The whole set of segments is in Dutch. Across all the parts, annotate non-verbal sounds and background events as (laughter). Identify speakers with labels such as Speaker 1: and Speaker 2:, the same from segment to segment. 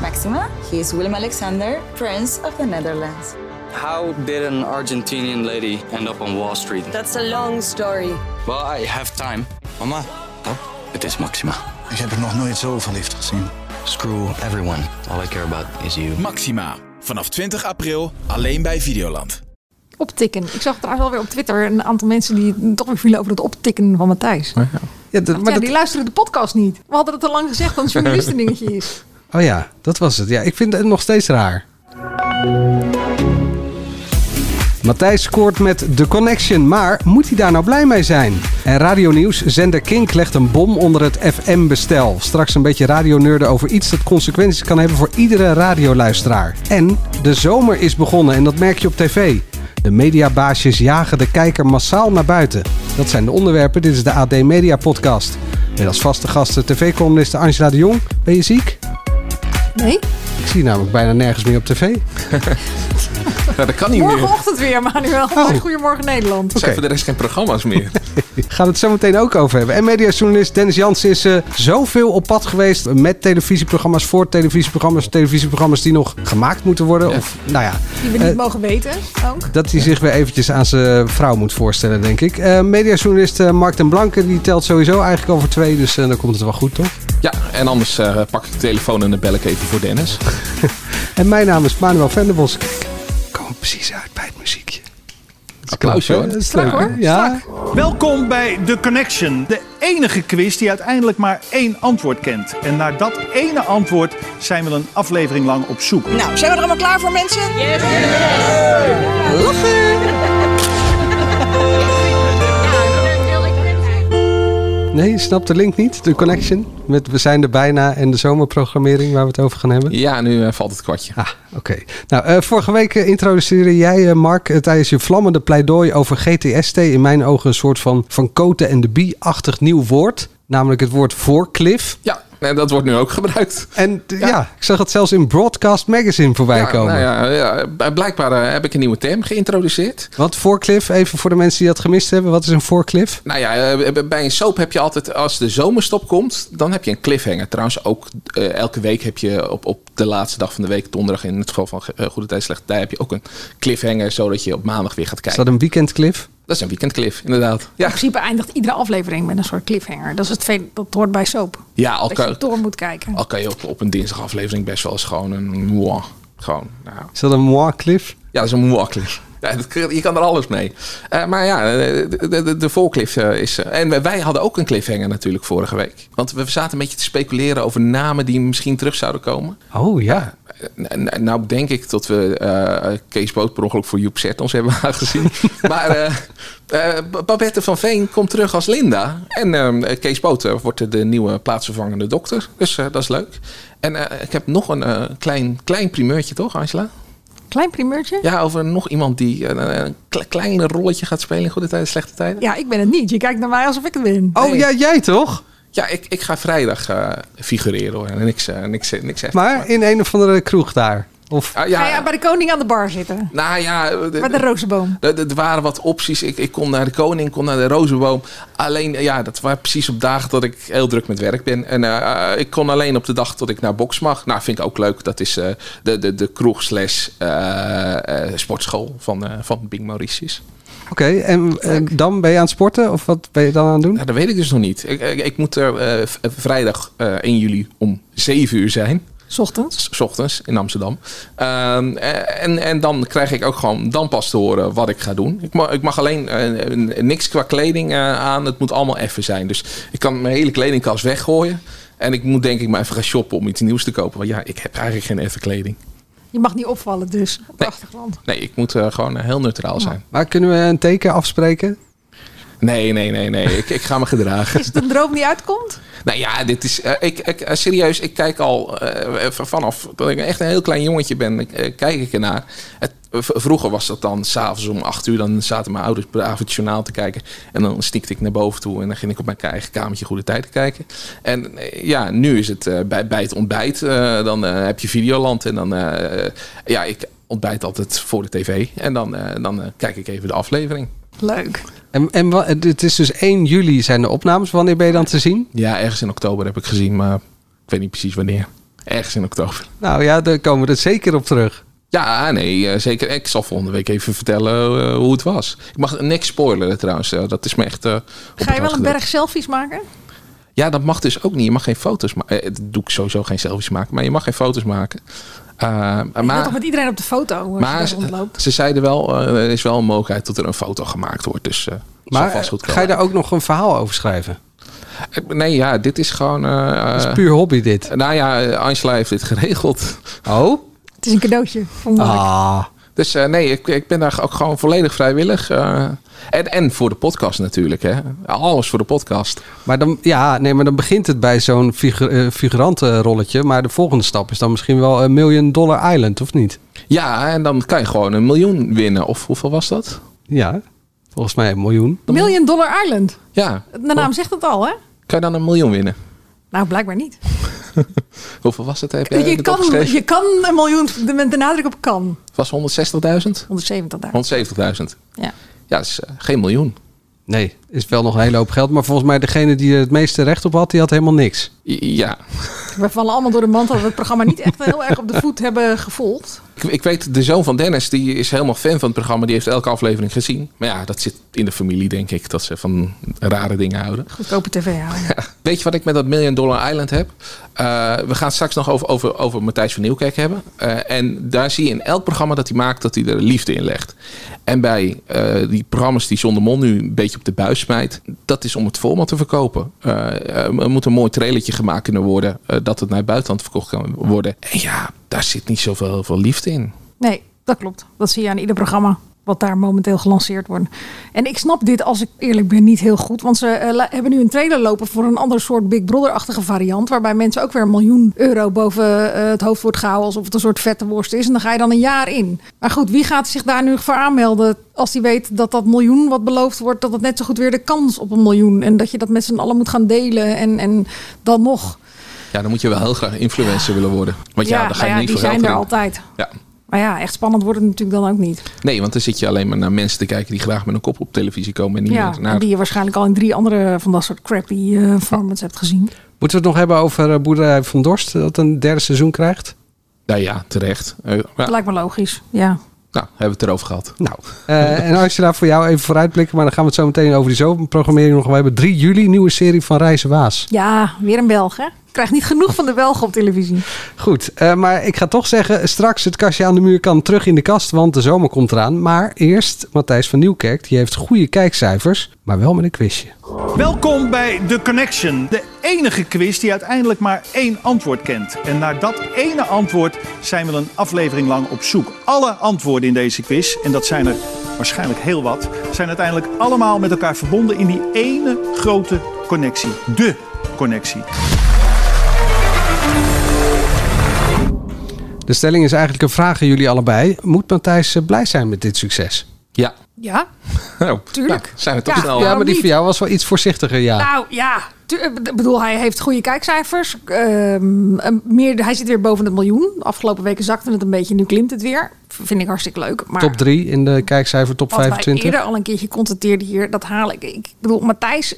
Speaker 1: Maxima. He is Willem Alexander, Prince of the Netherlands.
Speaker 2: How did an Argentinian lady end up on Wall Street?
Speaker 3: That's a long story.
Speaker 2: Well, I have time.
Speaker 4: Mama,
Speaker 2: Het is Maxima.
Speaker 5: Ik Dus heb er nog nooit zo verliefd gezien.
Speaker 2: Screw everyone. All I care about is you.
Speaker 6: Maxima. Vanaf 20 april alleen bij Videoland.
Speaker 7: Optikken. Ik zag trouwens alweer op Twitter een aantal mensen die toch weer vielen over het optikken van Matthijs.
Speaker 8: Ja, dat,
Speaker 7: Maar
Speaker 8: maar
Speaker 7: ja,
Speaker 8: dat,
Speaker 7: die luisteren de podcast niet. We hadden het al lang gezegd dat het
Speaker 4: (laughs)
Speaker 7: journalisten dingetje is.
Speaker 8: oh ja, dat was het. Ja, ik vind het nog steeds raar. Matthijs scoort met The Connection, maar moet hij daar nou blij mee zijn? En Radio Nieuws zender Kink legt een bom onder het FM-bestel. Straks een beetje radioneurden over iets dat consequenties kan hebben voor iedere radioluisteraar. En de zomer is begonnen en dat merk je op tv. De mediabaasjes jagen de kijker massaal naar buiten. Dat zijn de onderwerpen, dit is de AD Media Podcast. Met als vaste gasten tv-columniste Angela de Jong. Ben je ziek?
Speaker 7: Nee?
Speaker 8: Ik zie je namelijk bijna nergens meer op tv.
Speaker 4: ja, Nou, dat kan niet meer.
Speaker 7: Morgenochtend weer, Manuel.
Speaker 8: Oh.
Speaker 7: (laughs) Goedemorgen Nederland.
Speaker 4: Er zijn voor de rest geen programma's
Speaker 8: (laughs)
Speaker 4: meer.
Speaker 8: gaan we het zo meteen ook over hebben. En mediajournalist Dennis Jansen is eh, zoveel op pad geweest met televisieprogramma's, voor televisieprogramma's, televisieprogramma's die nog gemaakt moeten worden. Of, nou ja,
Speaker 7: Die we niet
Speaker 8: Eh,
Speaker 7: mogen weten ook.
Speaker 8: dat hij zich weer eventjes aan zijn vrouw moet voorstellen, denk ik. Eh mediajournalist eh, Mark den Blanke, die telt sowieso eigenlijk over twee, dus eh, dan komt het wel goed, toch?
Speaker 4: Ja, en anders eh, pak ik de telefoon en dan bel ik even voor Dennis.
Speaker 8: En mijn naam is Manuel Venderbos. Kijk, we komen precies uit bij het muziekje. Dat is
Speaker 4: Applaus,
Speaker 8: knap, hè?
Speaker 4: hoor.
Speaker 8: Dat is
Speaker 7: Strak,
Speaker 8: leuk, hè?
Speaker 7: hoor.
Speaker 8: Ja,
Speaker 9: Welkom bij The Connection, de enige quiz die uiteindelijk maar één antwoord kent. En naar dat ene antwoord zijn we een aflevering lang op zoek.
Speaker 3: Nou, zijn we er allemaal klaar voor, mensen?
Speaker 8: nee, je snapt de link niet, de connection. Met We zijn er bijna en de zomerprogrammering waar we het over gaan hebben.
Speaker 4: Ja, nu eh, valt het kwartje.
Speaker 8: Ah, oké. Nou, eh, vorige week eh, introduceerde jij, eh, Mark, eh, tijdens je vlammende pleidooi over GTST in mijn ogen een soort van van Cote en de Bie-achtig nieuw woord. Namelijk het woord voorklif.
Speaker 4: Ja, en dat wordt nu ook gebruikt.
Speaker 8: En eh, ja.
Speaker 4: Ja.
Speaker 8: ik zag het zelfs in Broadcast Magazine voorbij
Speaker 4: Ja,
Speaker 8: komen.
Speaker 4: nou ja, ja, b- blijkbaar eh, heb ik een nieuwe term geïntroduceerd.
Speaker 8: Wat voorklif, even voor de mensen die dat gemist hebben, wat is een voorklif?
Speaker 4: Nou ja, eh, b- bij een soap heb je altijd, als de zomerstop komt, dan heb je een cliffhanger. Trouwens, ook eh, elke week heb je op, op de laatste dag van de week, donderdag in het geval van eh, Goede Tijd, Slechte Tijd, heb je ook een cliffhanger, zodat je op maandag weer gaat
Speaker 8: Is
Speaker 4: kijken.
Speaker 8: dat een weekendklif?
Speaker 4: Dat is een weekendcliff, inderdaad. Ja,
Speaker 7: In principe eindigt iedere aflevering met een soort cliffhanger. Dat is het veel, dat hoort bij soap.
Speaker 4: ja al,
Speaker 7: Dat je
Speaker 4: kan,
Speaker 7: door moet kijken.
Speaker 4: al kan je op, op een dinsdagaflevering best wel eens gewoon een moi. Gewoon, nou,
Speaker 8: Is dat een moi-klif?
Speaker 4: ja, dat is een moi cliff. Ja, dat- je kan er alles mee. Eh, maar ja, eh, de, de, de, de voorcliff eh, is... eh, en wij- wij hadden ook een cliffhanger natuurlijk vorige week. Want we zaten een beetje te speculeren over namen die misschien terug zouden komen.
Speaker 8: Oh ja.
Speaker 4: Eh, n- n- Nou denk ik dat we eh Kees Boot per ongeluk voor Joep Zet ons hebben (laughs) aangezien. maar eh, eh, B- Babette van Veen komt terug als Linda. En eh, Kees Boot eh, wordt de nieuwe plaatsvervangende dokter. Dus eh, dat is leuk. En eh, ik heb nog een eh, klein, klein primeurtje toch, Angela?
Speaker 7: Klein primeurtje.
Speaker 4: Ja, over nog iemand die eh, een kle- kleine rolletje gaat spelen in goede tijden, slechte tijden.
Speaker 7: Ja, ik ben het niet. Je kijkt naar mij alsof ik het ben.
Speaker 8: Oh
Speaker 4: Nee.
Speaker 8: ja, jij toch?
Speaker 4: Ja, ik, ik ga vrijdag eh, figureren hoor. En niks, eh, niks, niks echt.
Speaker 8: Maar in een of andere kroeg daar. Of
Speaker 4: Ah,
Speaker 7: Ga jij
Speaker 4: ja,
Speaker 7: bij de koning aan de bar zitten?
Speaker 4: nou ja, eh,
Speaker 7: Bij de rozenboom.
Speaker 4: Er er waren wat opties. Ik, ik kon naar de koning, kon naar de rozenboom. Alleen, ja, dat waren precies op dagen dat ik heel druk met werk ben. En eh, eh, ik kon alleen op de dag dat ik naar box mag. Nou, vind ik ook leuk. Dat is eh, de, de, de kroeg slash eh, eh, sportschool van, eh, van Bing Mauritius.
Speaker 8: oké, en eh, dan ben je aan het sporten? Of wat ben je dan aan het doen?
Speaker 4: Nou, dat weet ik dus nog niet. Ik, ik, ik moet er eh, v- vrijdag eh, 1 juli om 7 uur zijn.
Speaker 7: S ochtends.
Speaker 4: s ochtends in Amsterdam. Ehm, eh, en, en dan krijg ik ook gewoon dan pas te horen wat ik ga doen. Ik mag, ik mag alleen eh, eh, niks qua kleding eh, aan. Het moet allemaal effen zijn. Dus ik kan mijn hele kledingkast weggooien. En ik moet denk ik maar even gaan shoppen om iets nieuws te kopen. Want ja, ik heb eigenlijk geen effen kleding.
Speaker 7: Je mag niet opvallen dus. Op de achtergrond.
Speaker 4: Nee, ik moet eh, gewoon eh, heel neutraal zijn.
Speaker 8: Maar kunnen we een teken afspreken?
Speaker 4: Nee, nee, nee, nee. Ik, ik ga me gedragen.
Speaker 7: Is het een droom die uitkomt?
Speaker 4: Nou ja, dit is. eh, ik, ik, eh, serieus, ik kijk al eh, v- vanaf dat ik echt een heel klein jongetje ben, eh, kijk ik ernaar. Het, v- vroeger was dat dan s'avonds om acht uur. Dan zaten mijn ouders braaf het journaal te kijken. En dan stiekte ik naar boven toe. En dan ging ik op mijn eigen kamertje goede tijden kijken. En eh, ja, nu is het eh, bij, bij het ontbijt. eh, dan eh, heb je Videoland. En dan. eh, ja, ik ontbijt altijd voor de tv. En dan, eh, dan eh, kijk ik even de aflevering.
Speaker 7: Leuk.
Speaker 8: En, en wa- het is dus 1 juli zijn de opnames. Wanneer ben je dan te zien?
Speaker 4: Ja, ergens in oktober heb ik gezien, maar ik weet niet precies wanneer. Ergens in oktober.
Speaker 8: Nou ja, daar komen we er zeker op terug.
Speaker 4: Ja, nee, eh, zeker. Ik zal volgende week even vertellen eh, hoe het was. Ik mag niks spoileren trouwens. eh, dat is me echt. eh, op het
Speaker 7: Ga
Speaker 4: hart
Speaker 7: je wel een
Speaker 4: gedrukt.
Speaker 7: berg selfies maken?
Speaker 4: Ja, dat mag dus ook niet. Je mag geen foto's maken. Eh, dat doe ik sowieso geen selfies maken. Maar je mag geen foto's maken. Eh,
Speaker 7: Maar,
Speaker 4: maar
Speaker 7: toch met iedereen op de foto als je
Speaker 4: maar
Speaker 7: daar
Speaker 4: ze,
Speaker 7: rondloopt.
Speaker 4: ze zeiden wel, eh, er is wel een mogelijkheid dat er een foto gemaakt wordt. Dus eh zal
Speaker 8: Maar
Speaker 4: vast goed
Speaker 8: eh, ga je daar ook nog een verhaal over schrijven?
Speaker 4: komen. Eh, Nee, ja, dit is gewoon... eh,
Speaker 8: Het is puur hobby dit.
Speaker 4: nou ja, eh, Angela heeft dit geregeld.
Speaker 8: Oh?
Speaker 7: (laughs) Het is een cadeautje van Mark.
Speaker 8: Ah.
Speaker 4: Dus eh, nee, ik, ik ben daar ook gewoon volledig vrijwillig. eh, en, en voor de podcast natuurlijk. Hè. Alles voor de podcast.
Speaker 8: Maar dan, ja, nee, maar dan begint het bij zo'n figu eh, figurantenrolletje. Maar de volgende stap is dan misschien wel een Million Dollar Island, of niet?
Speaker 4: Ja, en dan kan je gewoon een miljoen winnen. Of hoeveel was dat?
Speaker 8: Ja, volgens mij een miljoen.
Speaker 7: Million Dollar Island.
Speaker 4: Ja,
Speaker 7: De naam zegt het al, hè?
Speaker 4: kan je dan een miljoen winnen?
Speaker 7: Nou, blijkbaar niet.
Speaker 4: Hoeveel was het? Heb jij
Speaker 7: Je
Speaker 4: het
Speaker 7: kan,
Speaker 4: opgeschreven?
Speaker 7: je kan een miljoen, de- met de nadruk op kan.
Speaker 4: Was 160.000?
Speaker 7: 170 daar.
Speaker 4: 170.000.
Speaker 7: Ja.
Speaker 4: Ja, dat is eh, geen miljoen.
Speaker 8: Nee, is wel nog een hele hoop geld. Maar volgens mij degene die er het meeste recht op had, die had helemaal niks.
Speaker 4: I- Ja,
Speaker 7: We vallen allemaal door de mand dat we het programma niet echt heel erg op de voet hebben gevolgd.
Speaker 4: ik, ik weet, de zoon van Dennis, die is helemaal fan van het programma. Die heeft elke aflevering gezien. Maar ja, dat zit in de familie, denk ik, dat ze van rare dingen houden.
Speaker 7: Goedkope tv houden.
Speaker 4: Weet je wat ik met dat Million Dollar Island heb? Eh, we gaan het straks nog over, over, over Matthijs van Nieuwkerk hebben. Eh, en daar zie je in elk programma dat hij maakt dat hij er liefde in legt. En bij eh, die programma's die John de Mol nu een beetje op de buis smijt... dat is om het format te verkopen. Eh, er moet een mooi trailertje gemaakt kunnen worden... eh, dat het naar het buitenland verkocht kan worden. En ja, daar zit niet zoveel heel veel liefde in.
Speaker 7: Nee, dat klopt. Dat zie je aan ieder programma wat daar momenteel gelanceerd wordt. En ik snap dit, als ik eerlijk ben, niet heel goed. Want ze eh, la- hebben nu een trailer lopen voor een ander soort Big Brother-achtige variant. Waarbij mensen ook weer een miljoen euro boven eh, het hoofd wordt gehouden. Alsof het een soort vette worst is. En dan ga je dan een jaar in. Maar goed, wie gaat zich daar nu voor aanmelden? Als die weet dat dat miljoen wat beloofd wordt, dat het net zo goed weer de kans op een miljoen. En dat je dat met z'n allen moet gaan delen. En, en dan nog.
Speaker 4: Ja, dan moet je wel heel graag influencer willen worden. Want ja, dan ga
Speaker 7: nou
Speaker 4: je
Speaker 7: ja,
Speaker 4: niet
Speaker 7: die
Speaker 4: voor geld
Speaker 7: zijn er
Speaker 4: erin.
Speaker 7: altijd.
Speaker 4: Ja.
Speaker 7: Maar ja, echt spannend wordt het natuurlijk dan ook niet.
Speaker 4: Nee, want dan zit je alleen maar naar mensen te kijken... die graag met een kop op televisie komen... en niet nou,
Speaker 7: Ja,
Speaker 4: meer naar
Speaker 7: en die je waarschijnlijk al in drie andere van dat soort crappy eh, formats hebt gezien.
Speaker 8: Moeten we het nog hebben over eh, Boerderij van Dorst, dat een derde seizoen krijgt?
Speaker 4: Nou ja, terecht. Eh, ja,
Speaker 7: Dat lijkt me logisch. Ja.
Speaker 4: nou, hebben we het erover gehad.
Speaker 8: Nou, (laughs) eh, en als je daar voor jou even vooruitblikken, maar dan gaan we het zo meteen over die zomerprogrammering nog wel hebben. 3 juli, nieuwe serie van Reizen Waas.
Speaker 7: ja, weer een Belg, hè? Krijg niet genoeg van de Belgen op televisie.
Speaker 8: Goed, eh, maar ik ga toch zeggen, straks het kastje aan de muur kan terug in de kast, want de zomer komt eraan. Maar eerst Matthijs van Nieuwkerk, die heeft goede kijkcijfers, maar wel met een quizje.
Speaker 9: Welkom bij The Connection, de enige quiz die uiteindelijk maar één antwoord kent. En naar dat ene antwoord zijn we een aflevering lang op zoek. Alle antwoorden in deze quiz, en dat zijn er waarschijnlijk heel wat, zijn uiteindelijk allemaal met elkaar verbonden in die ene grote connectie. De connectie.
Speaker 8: De stelling is eigenlijk een vraag aan jullie allebei. Moet Matthijs eh, blij zijn met dit succes?
Speaker 4: Ja.
Speaker 7: Ja, tuurlijk.
Speaker 4: Nou, zijn we toch
Speaker 7: Ja.
Speaker 4: snel.
Speaker 8: ja,
Speaker 7: waarom
Speaker 8: maar die
Speaker 7: niet?
Speaker 8: voor jou was wel iets voorzichtiger, ja.
Speaker 7: Nou ja, tu- eh, ik bedoel, hij heeft goede kijkcijfers. Ehm, een meer, hij zit weer boven het miljoen. Afgelopen weken zakte het een beetje, nu klimt het weer. V- Vind ik hartstikke leuk. Maar
Speaker 8: top 3 in de kijkcijfer top
Speaker 7: wat
Speaker 8: 25.
Speaker 7: wij eerder al een keertje constateerden hier, dat haal ik. Ik bedoel, Matthijs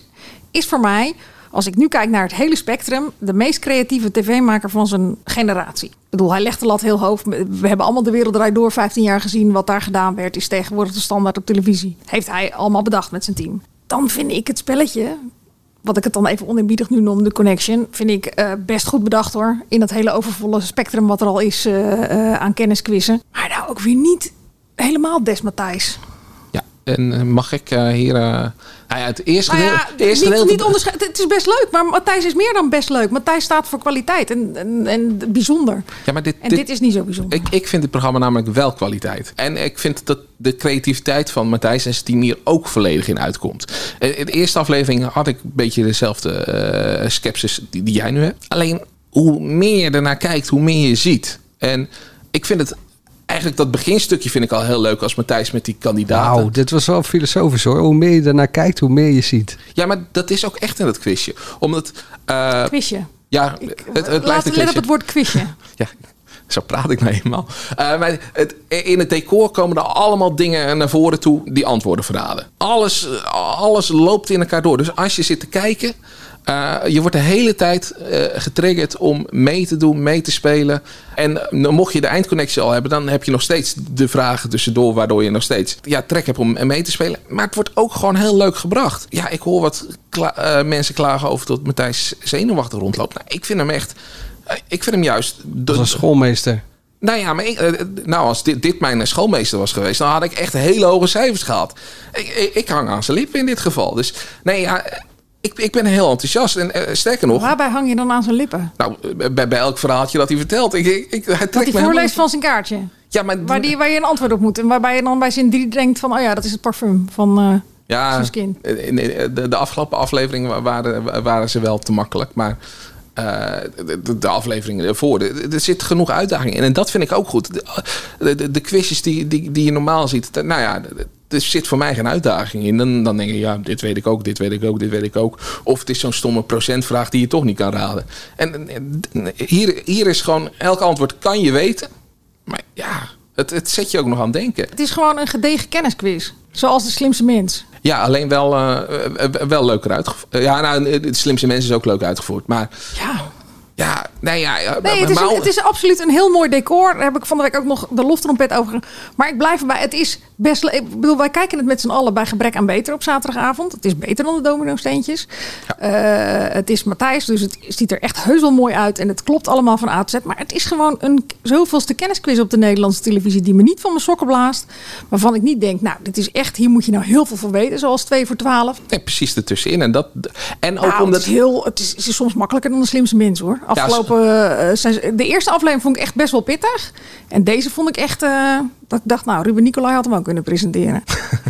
Speaker 7: is voor mij, als ik nu kijk naar het hele spectrum, de meest creatieve tv-maker van zijn generatie. Ik bedoel, hij legt de lat heel hoog. We hebben allemaal de wereld draait door 15 jaar gezien. Wat daar gedaan werd, is tegenwoordig de standaard op televisie. Heeft hij allemaal bedacht met zijn team. Dan vind ik het spelletje, wat ik het dan even oneerbiedig nu noem, de connection, vind ik eh, best goed bedacht hoor. In dat hele overvolle spectrum wat er al is eh, eh, aan kennisquizzen. Maar nou ook weer niet helemaal des Matthijs.
Speaker 4: Ja. En eh, mag ik eh, hier... eh, nou ja, het eerste
Speaker 7: Nou
Speaker 4: deel...
Speaker 7: ja,
Speaker 4: het
Speaker 7: niet,
Speaker 4: eerste deel
Speaker 7: niet onderscheid. Het is best leuk, maar Matthijs is meer dan best leuk. Matthijs staat voor kwaliteit en, en, en bijzonder.
Speaker 4: ja, maar dit,
Speaker 7: En
Speaker 4: dit-
Speaker 7: dit, is niet zo bijzonder.
Speaker 4: ik, ik vind dit programma namelijk wel kwaliteit. En ik vind dat de creativiteit van Matthijs en zijn team hier ook volledig in uitkomt. Eh, In de eerste aflevering had ik een beetje dezelfde eh sceptisch die, die jij nu hebt. Alleen hoe meer je ernaar kijkt, hoe meer je ziet. En ik vind het... Eigenlijk dat beginstukje vind ik al heel leuk als Matthijs met die kandidaten...
Speaker 8: Wauw, Nou, dit was wel filosofisch hoor. Hoe meer je ernaar kijkt, hoe meer je ziet.
Speaker 4: Ja, maar dat is ook echt in dat quizje. Omdat, eh,
Speaker 7: quizje.
Speaker 4: ja,
Speaker 7: Ik-
Speaker 4: het, het
Speaker 7: laten
Speaker 4: lijkt een
Speaker 7: we let op
Speaker 4: quizje.
Speaker 7: het woord quizje.
Speaker 4: Ja, zo praat ik nou eenmaal. Eh, maar het, in het decor komen er allemaal dingen naar voren toe die antwoorden verraden. Alles, alles loopt in elkaar door. Dus als je zit te kijken, Eh, je wordt de hele tijd eh, getriggerd om mee te doen, mee te spelen. En eh, mocht je de eindconnectie al hebben, dan heb je nog steeds de vragen tussendoor, waardoor je nog steeds ja, trek hebt om mee te spelen. Maar het wordt ook gewoon heel leuk gebracht. Ja, ik hoor wat kla- eh, mensen klagen over dat Matthijs zenuwachtig rondloopt. Nou, ik vind hem echt. eh, Ik vind hem juist. de-
Speaker 8: Als een schoolmeester.
Speaker 4: nou ja, maar ik, eh, nou, als dit, dit mijn schoolmeester was geweest, dan had ik echt hele hoge cijfers gehaald. Ik, ik, ik hang aan zijn lippen in dit geval. Dus nee, ja, eh, ik, ik ben heel enthousiast. En eh, sterker nog,
Speaker 7: Waarbij hang je dan aan zijn lippen?
Speaker 4: nou, eh, bij, bij elk verhaaltje dat hij vertelt, ik, ik, ik, hij trekt
Speaker 7: Dat
Speaker 4: me
Speaker 7: hij
Speaker 4: helemaal
Speaker 7: voorleest
Speaker 4: niet-
Speaker 7: van zijn kaartje.
Speaker 4: Ja, maar
Speaker 7: Waar, die, waar je een antwoord op moet. En waarbij je dan bij zin 3 denkt van... oh ja, dat is het parfum van... eh,
Speaker 4: Ja,
Speaker 7: Zoals kind.
Speaker 4: eh, nee, eh, de, de afgelopen afleveringen wa- waren, wa- waren ze wel te makkelijk. Maar eh, de- de, de afleveringen ervoor, er er zit genoeg uitdaging in. En dat vind ik ook goed. De, de, de quizjes die, die, die je normaal ziet, de- nou ja... de- Er zit voor mij geen uitdaging in. Dan, dan denk je, ja, dit weet ik ook, dit weet ik ook, dit weet ik ook. Of het is zo'n stomme procentvraag die je toch niet kan raden. En eh, d- hier, hier is gewoon, elk antwoord kan je weten. Maar ja, het, het zet je ook nog aan het denken.
Speaker 7: het is gewoon een gedegen kennisquiz. Zoals de slimste mens.
Speaker 4: Ja, alleen wel, eh, eh, eh, wel leuker uitgevoerd. ja, nou, eh, de slimste mensen is ook leuk uitgevoerd. Maar
Speaker 7: Ja.
Speaker 4: ja, nee, ja. eh, ja,
Speaker 7: Nee, het
Speaker 4: maar-
Speaker 7: is,
Speaker 4: maar-
Speaker 7: een- het is absoluut een heel mooi decor. Daar heb ik van de week ook nog de loftrompet over. Maar ik blijf erbij. Het is best... le- Ik bedoel, wij kijken het met z'n allen bij gebrek aan beter op zaterdagavond. Het is beter dan de domino steentjes. het is Matthijs, dus het ziet er echt heus wel mooi uit. En het klopt allemaal van A tot Z. Maar het is gewoon een k- zoveelste kennisquiz op de Nederlandse televisie... die me niet van mijn sokken blaast. Waarvan ik niet denk, nou, dit is echt... Hier moet je nou heel veel van weten, zoals 2 voor 12.
Speaker 4: nee, precies ertussenin. En, dat, en ook
Speaker 7: Nou,
Speaker 4: omdat...
Speaker 7: het, is heel, het, is, het is soms makkelijker dan de slimste mens hoor. Afgelopen, eh, seizoen- de eerste aflevering vond ik echt best wel pittig. En deze vond ik echt. eh, dat ik dacht, nou, Ruben Nicolai had hem ook kunnen presenteren. (laughs)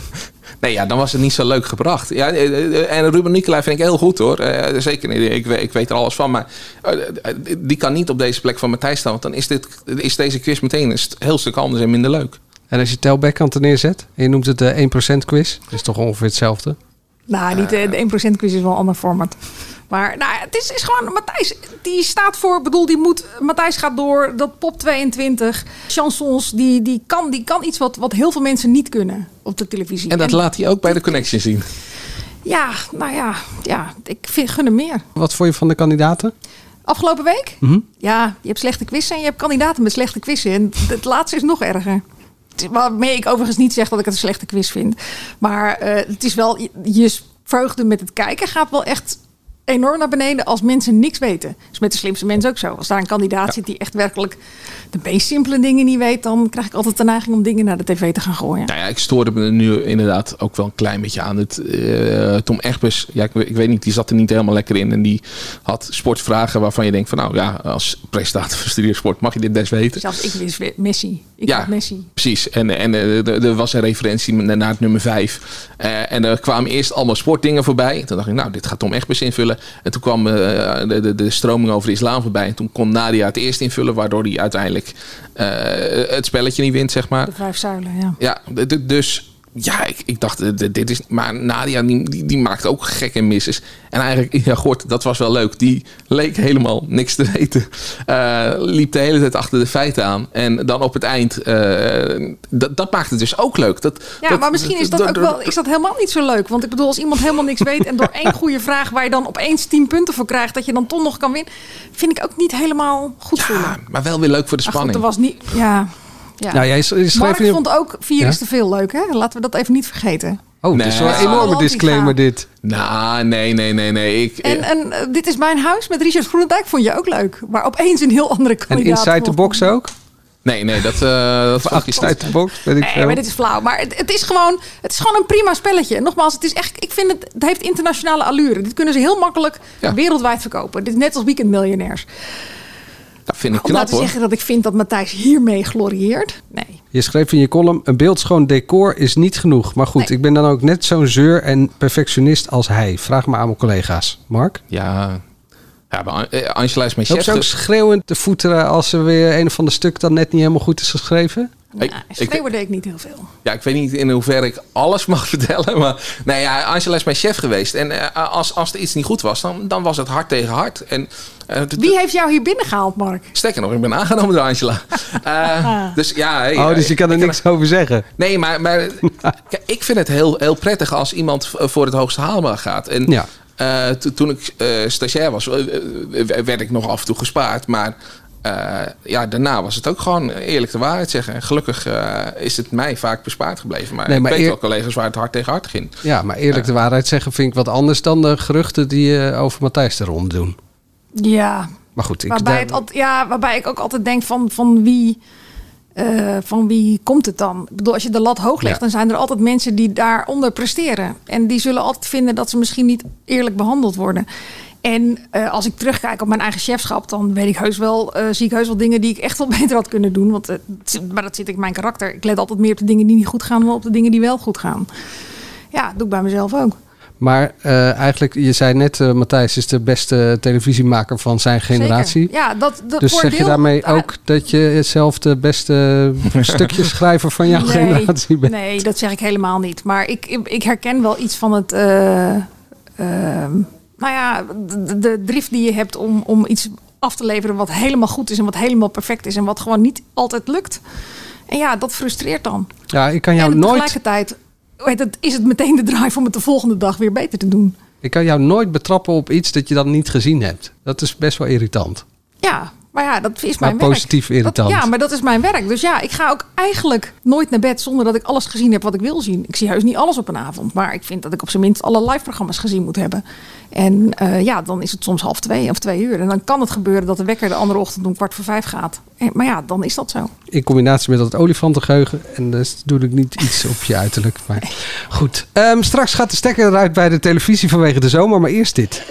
Speaker 4: Nee, ja, dan was het niet zo leuk gebracht. Ja, eh, eh, en Ruben Nicolai vind ik heel goed hoor. Eh, zeker, niet. ik, we- ik weet er alles van. Maar eh, eh, die kan niet op deze plek van Matthijs staan. Want dan is, dit, is deze quiz meteen een st- heel stuk anders en minder leuk.
Speaker 8: En als je telbackkant er neerzet, en je noemt het de 1% quiz, dat is toch ongeveer hetzelfde.
Speaker 7: nou, niet, eh, de 1% quiz is wel een ander format. Maar nou, het is, is gewoon. Matthijs, die staat voor. ik bedoel, die moet. Matthijs gaat door. Dat pop 22. Chansons, die, die, kan, die kan iets wat, wat heel veel mensen niet kunnen op de televisie.
Speaker 4: En dat laat hij ook bij de connection zien.
Speaker 7: ja, nou ja, ja ik vind, gun hem meer.
Speaker 8: Wat vond je van de kandidaten?
Speaker 7: Afgelopen week? Ja, je hebt slechte quizzen en je hebt kandidaten met slechte quizzen. En d- het laatste is nog erger. Het is- Waarmee ik overigens niet zeg dat ik het een slechte quiz vind. Maar eh, het is wel, je- je vreugde met het kijken gaat wel echt enorm naar beneden als mensen niks weten. Dat is met de slimste mensen ook zo. Als daar een kandidaat zit die echt werkelijk de meest simpele dingen niet weet... dan krijg ik altijd de neiging om dingen naar de tv te gaan gooien.
Speaker 4: Nou ja, ik stoorde me er nu inderdaad ook wel een klein beetje aan. Het, eh, Tom Egbers, ja, ik, we- ik weet niet, die zat er niet helemaal lekker in. En die had sportvragen waarvan je denkt van... nou ja, als presentator van Studiosport mag je dit best weten.
Speaker 7: Zelfs ik wist weer Messi. Ik
Speaker 4: Ja,
Speaker 7: had Messi.
Speaker 4: precies. En, en eh, er er was een referentie na- naar het nummer 5. en er kwamen eerst allemaal sportdingen voorbij. Toen dacht ik, nou, dit gaat Tom Egbers invullen. En toen kwam eh, de, de, de stroming over de islam voorbij. En toen kon Nadia het eerst invullen, waardoor hij uiteindelijk eh, het spelletje niet wint, zeg maar.
Speaker 7: De vijf zuilen, ja.
Speaker 4: Ja, d- d- dus ja, ik, ik dacht, d- dit is. Maar Nadia, die, die, die maakt ook gekke misses. En eigenlijk, (laughs) ja, Gort, dat was wel leuk. Die leek helemaal niks te weten. Eh, liep de hele tijd achter de feiten aan. En dan op het eind, eh, dat, dat maakt het dus ook leuk. Dat,
Speaker 7: Ja, maar misschien is dat ook wel, is dat helemaal niet zo leuk. Want ik bedoel, als iemand helemaal niks weet
Speaker 8: (laughs)
Speaker 7: en door één goede vraag waar je dan opeens 10 punten voor krijgt, dat je dan toch nog kan winnen, vind ik ook niet helemaal goed voelen.
Speaker 4: Ja, ah, maar wel weer leuk voor de
Speaker 7: Maar goed,
Speaker 4: spanning.
Speaker 7: er was niet. Ja. ja.
Speaker 8: Nou, jij s- je
Speaker 7: Mark
Speaker 8: schreef nu...
Speaker 7: vond ook vier
Speaker 8: Ja?
Speaker 7: is te veel leuk, hè? Laten we dat even niet vergeten.
Speaker 8: Oh, dit is wel
Speaker 4: Nee.
Speaker 8: een enorme
Speaker 7: Antifa.
Speaker 8: disclaimer dit.
Speaker 4: Nou, nee, nee, nee, nee. Ik,
Speaker 7: En,
Speaker 4: eh,
Speaker 7: en eh, dit is mijn huis met Richard Groenendijk vond je ook leuk. Maar opeens een heel andere
Speaker 8: En
Speaker 7: kandidaat.
Speaker 8: Inside the Box ook?
Speaker 4: nee, nee, dat, eh dat vond
Speaker 8: Of
Speaker 4: ik niet.
Speaker 8: Outside the Box, weet ik
Speaker 7: Nee,
Speaker 8: veel.
Speaker 7: maar dit is flauw. Maar het, het is gewoon, het is gewoon een prima spelletje. En Nogmaals, het is echt, ik vind het, het heeft internationale allure. Dit kunnen ze heel makkelijk
Speaker 4: Ja.
Speaker 7: wereldwijd verkopen. Dit is net als Weekend Miljonairs.
Speaker 4: Dat vind ik
Speaker 7: Om nou
Speaker 4: knap
Speaker 7: te
Speaker 4: hoor.
Speaker 7: zeggen dat ik vind dat Matthijs hiermee glorieert. Nee.
Speaker 8: Je schreef in je column, een beeldschoon decor is niet genoeg. Maar goed,
Speaker 7: Nee.
Speaker 8: ik ben dan ook net zo'n zeur en perfectionist als hij. Vraag maar aan mijn collega's. Mark?
Speaker 4: Ja, ja maar eh, Angela is mijn
Speaker 8: Loop
Speaker 4: chef.
Speaker 8: ze ook
Speaker 4: dus-
Speaker 8: schreeuwend te voeteren als er weer een of ander stuk dat net niet helemaal goed is geschreven?
Speaker 4: Ik-
Speaker 7: Nou,
Speaker 4: ik-
Speaker 7: schreeuwen deed ik niet heel veel.
Speaker 4: Ja, ik weet niet in hoeverre ik alles (laughs) mag vertellen. Maar nou ja, Angela is mijn chef geweest. En eh, als, als er iets niet goed was, dan, dan was het hard tegen hard. En, eh, d- d-
Speaker 7: Wie heeft jou hier binnengehaald, Mark?
Speaker 4: Sterker nog, ik ben aangenomen door Angela. Eh, dus ja, hey,
Speaker 8: oh, dus je
Speaker 4: ik-
Speaker 8: kan er
Speaker 4: ik heb-
Speaker 8: niks over zeggen.
Speaker 4: Nee,
Speaker 8: (laughs)
Speaker 4: eh, maar, maar kijk, ik vind het heel, heel prettig als iemand v- voor het hoogste haalbaar gaat. En
Speaker 8: Ja.
Speaker 4: Eh, to- toen ik eh, stagiair was, eh, eh, werd ik nog af en toe gespaard. Maar eh, ja, daarna was het ook gewoon eerlijk de waarheid zeggen. En Gelukkig eh, is het mij vaak bespaard gebleven. Maar,
Speaker 8: Nee, maar
Speaker 4: ik weet
Speaker 8: eer-
Speaker 4: wel collega's waar het hard tegen hard ging.
Speaker 8: Ja, maar eerlijk de waarheid zeggen vind ik wat anders dan de geruchten die eh, over Matthijs de ronde doen.
Speaker 7: Ja,
Speaker 8: Maar goed, ik,
Speaker 7: waarbij,
Speaker 8: daar-
Speaker 7: het altijd, ja, waarbij ik ook altijd denk van, van wie... eh, van wie komt het dan? Ik bedoel, als je de lat hoog legt,
Speaker 8: Ja.
Speaker 7: dan zijn er altijd mensen die daaronder presteren. En die zullen altijd vinden dat ze misschien niet eerlijk behandeld worden. En eh, als ik terugkijk op mijn eigen chefschap, dan weet ik heus wel, eh, zie ik heus wel dingen die ik echt wel (laughs) beter had kunnen doen. Want, eh, het zit- maar dat zit in mijn karakter. Ik let altijd meer op de dingen die niet goed gaan dan op de dingen die wel goed gaan. Ja, dat doe ik bij mezelf ook.
Speaker 8: maar eh, eigenlijk, je zei net, eh, Matthijs is de beste televisiemaker van zijn generatie.
Speaker 7: Zeker. Ja, dat, dat
Speaker 8: Dus
Speaker 7: voor
Speaker 8: zeg
Speaker 7: een
Speaker 8: je
Speaker 7: deel-
Speaker 8: daarmee
Speaker 7: Ah,
Speaker 8: ook dat je zelf de beste stukjeschrijver van jouw generatie bent?
Speaker 7: Nee, dat zeg ik helemaal niet. Maar ik, ik, ik herken wel iets van het. eh, ehm, nou ja, de, de drift die je hebt om, om iets af te leveren wat helemaal goed is en wat helemaal perfect is en wat gewoon niet altijd lukt. En ja, dat frustreert dan.
Speaker 8: Ja, ik kan, jou
Speaker 7: en
Speaker 8: nooit,
Speaker 7: tegelijkertijd hoe heet het, is het meteen de drive om het de volgende dag weer beter te doen.
Speaker 8: ik kan jou nooit betrappen op iets dat je dan niet gezien hebt. Dat is best wel irritant.
Speaker 7: Ja, maar ja, dat is
Speaker 8: Maar
Speaker 7: mijn
Speaker 8: positief
Speaker 7: werk.
Speaker 8: irritant.
Speaker 7: Dat, ja, maar dat is mijn werk. Dus ja, ik ga ook eigenlijk nooit naar bed zonder dat ik alles gezien heb wat ik wil zien. Ik zie heus niet alles op een avond. Maar ik vind dat ik op zijn minst alle live programma's gezien moet hebben. En eh, ja, dan is het soms half twee of twee uur. En dan kan het gebeuren dat de wekker de andere ochtend om kwart voor vijf gaat. En, maar ja, dan is dat zo.
Speaker 8: In combinatie met dat olifantengeheugen. En dat is natuurlijk niet iets op je uiterlijk. Maar goed. Ehm, straks gaat de stekker eruit bij de televisie vanwege de zomer. Maar eerst dit.